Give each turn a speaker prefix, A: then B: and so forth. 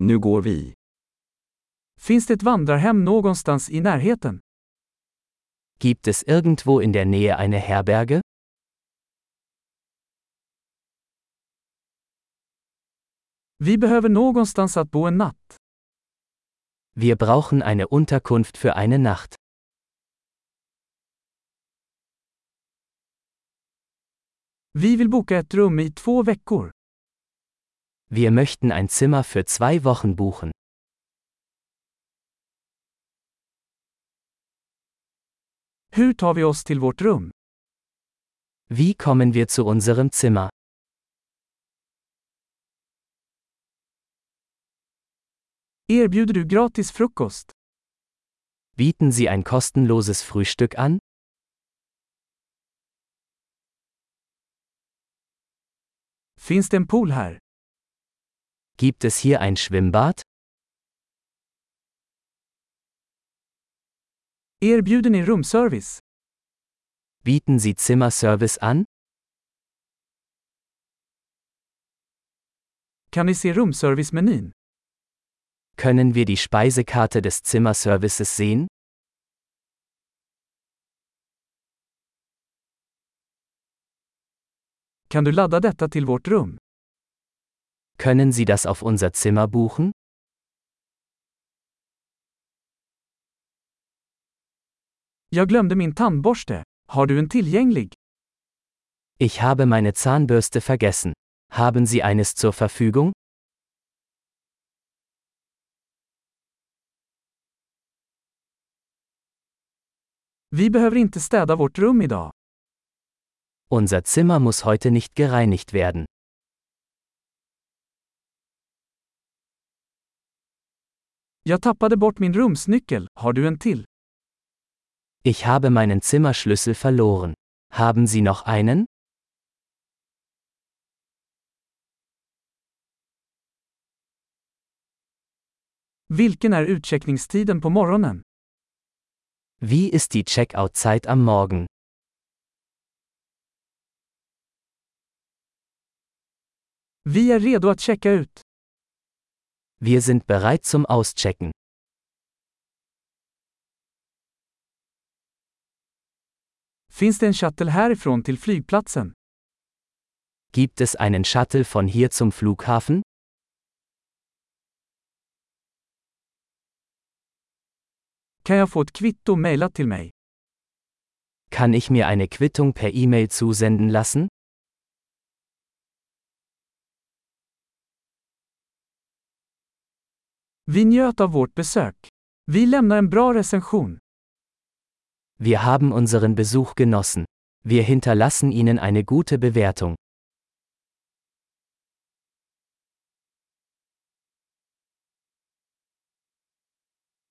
A: Nu går vi.
B: Finns det ett vandrarhem någonstans i närheten?
C: Gibt es irgendwo in der Nähe eine Herberge?
B: Vi behöver någonstans att bo en natt.
C: Wir brauchen eine Unterkunft für eine Nacht.
B: Vi vill boka ett rum i två veckor.
C: Wir möchten ein Zimmer für zwei Wochen buchen.
B: Hur tar vi oss till vårt rum?
C: Wie kommen wir zu unserem Zimmer?
B: Erbjuder du gratis frukost?
C: Bieten Sie ein kostenloses Frühstück an?
B: Finns det en pool här?
C: Gibt es hier ein Schwimmbad?
B: Erbjuder ni rumservice?
C: Bieten Sie Zimmerservice an?
B: Kan ni se rumservice-menyn?
C: Können wir die Speisekarte des Zimmerservices sehen?
B: Kan du ladda detta till vårt rum?
C: Können Sie das auf unser Zimmer buchen?
B: Jag glömde min tandborste. Har du en tillgänglig?
C: Ich habe meine Zahnbürste vergessen. Haben Sie eines zur Verfügung?
B: Vi behöver inte städa vårt rum idag.
C: Unser Zimmer muss heute nicht gereinigt werden.
B: Jag tappade bort min rumsnyckel. Har du en till?
C: Ich habe meinen Zimmerschlüssel verloren. Haben Sie noch einen?
B: Vilken är utcheckningstiden på morgonen?
C: Wie ist die Checkout-Zeit am Morgen?
B: Vi är redo att checka ut.
C: Wir sind bereit zum Auschecken.
B: Finns det en shuttle härifrån till flygplatsen?
C: Gibt es einen Shuttle von hier zum Flughafen?
B: Kan jag få ett kvitto mejlat till mig?
C: Kann ich mir eine Quittung per E-Mail zusenden lassen?
B: Vi njöt av vårt besök. Vi lämnar en bra recension.
C: Wir haben unseren Besuch genossen. Wir hinterlassen Ihnen eine gute Bewertung.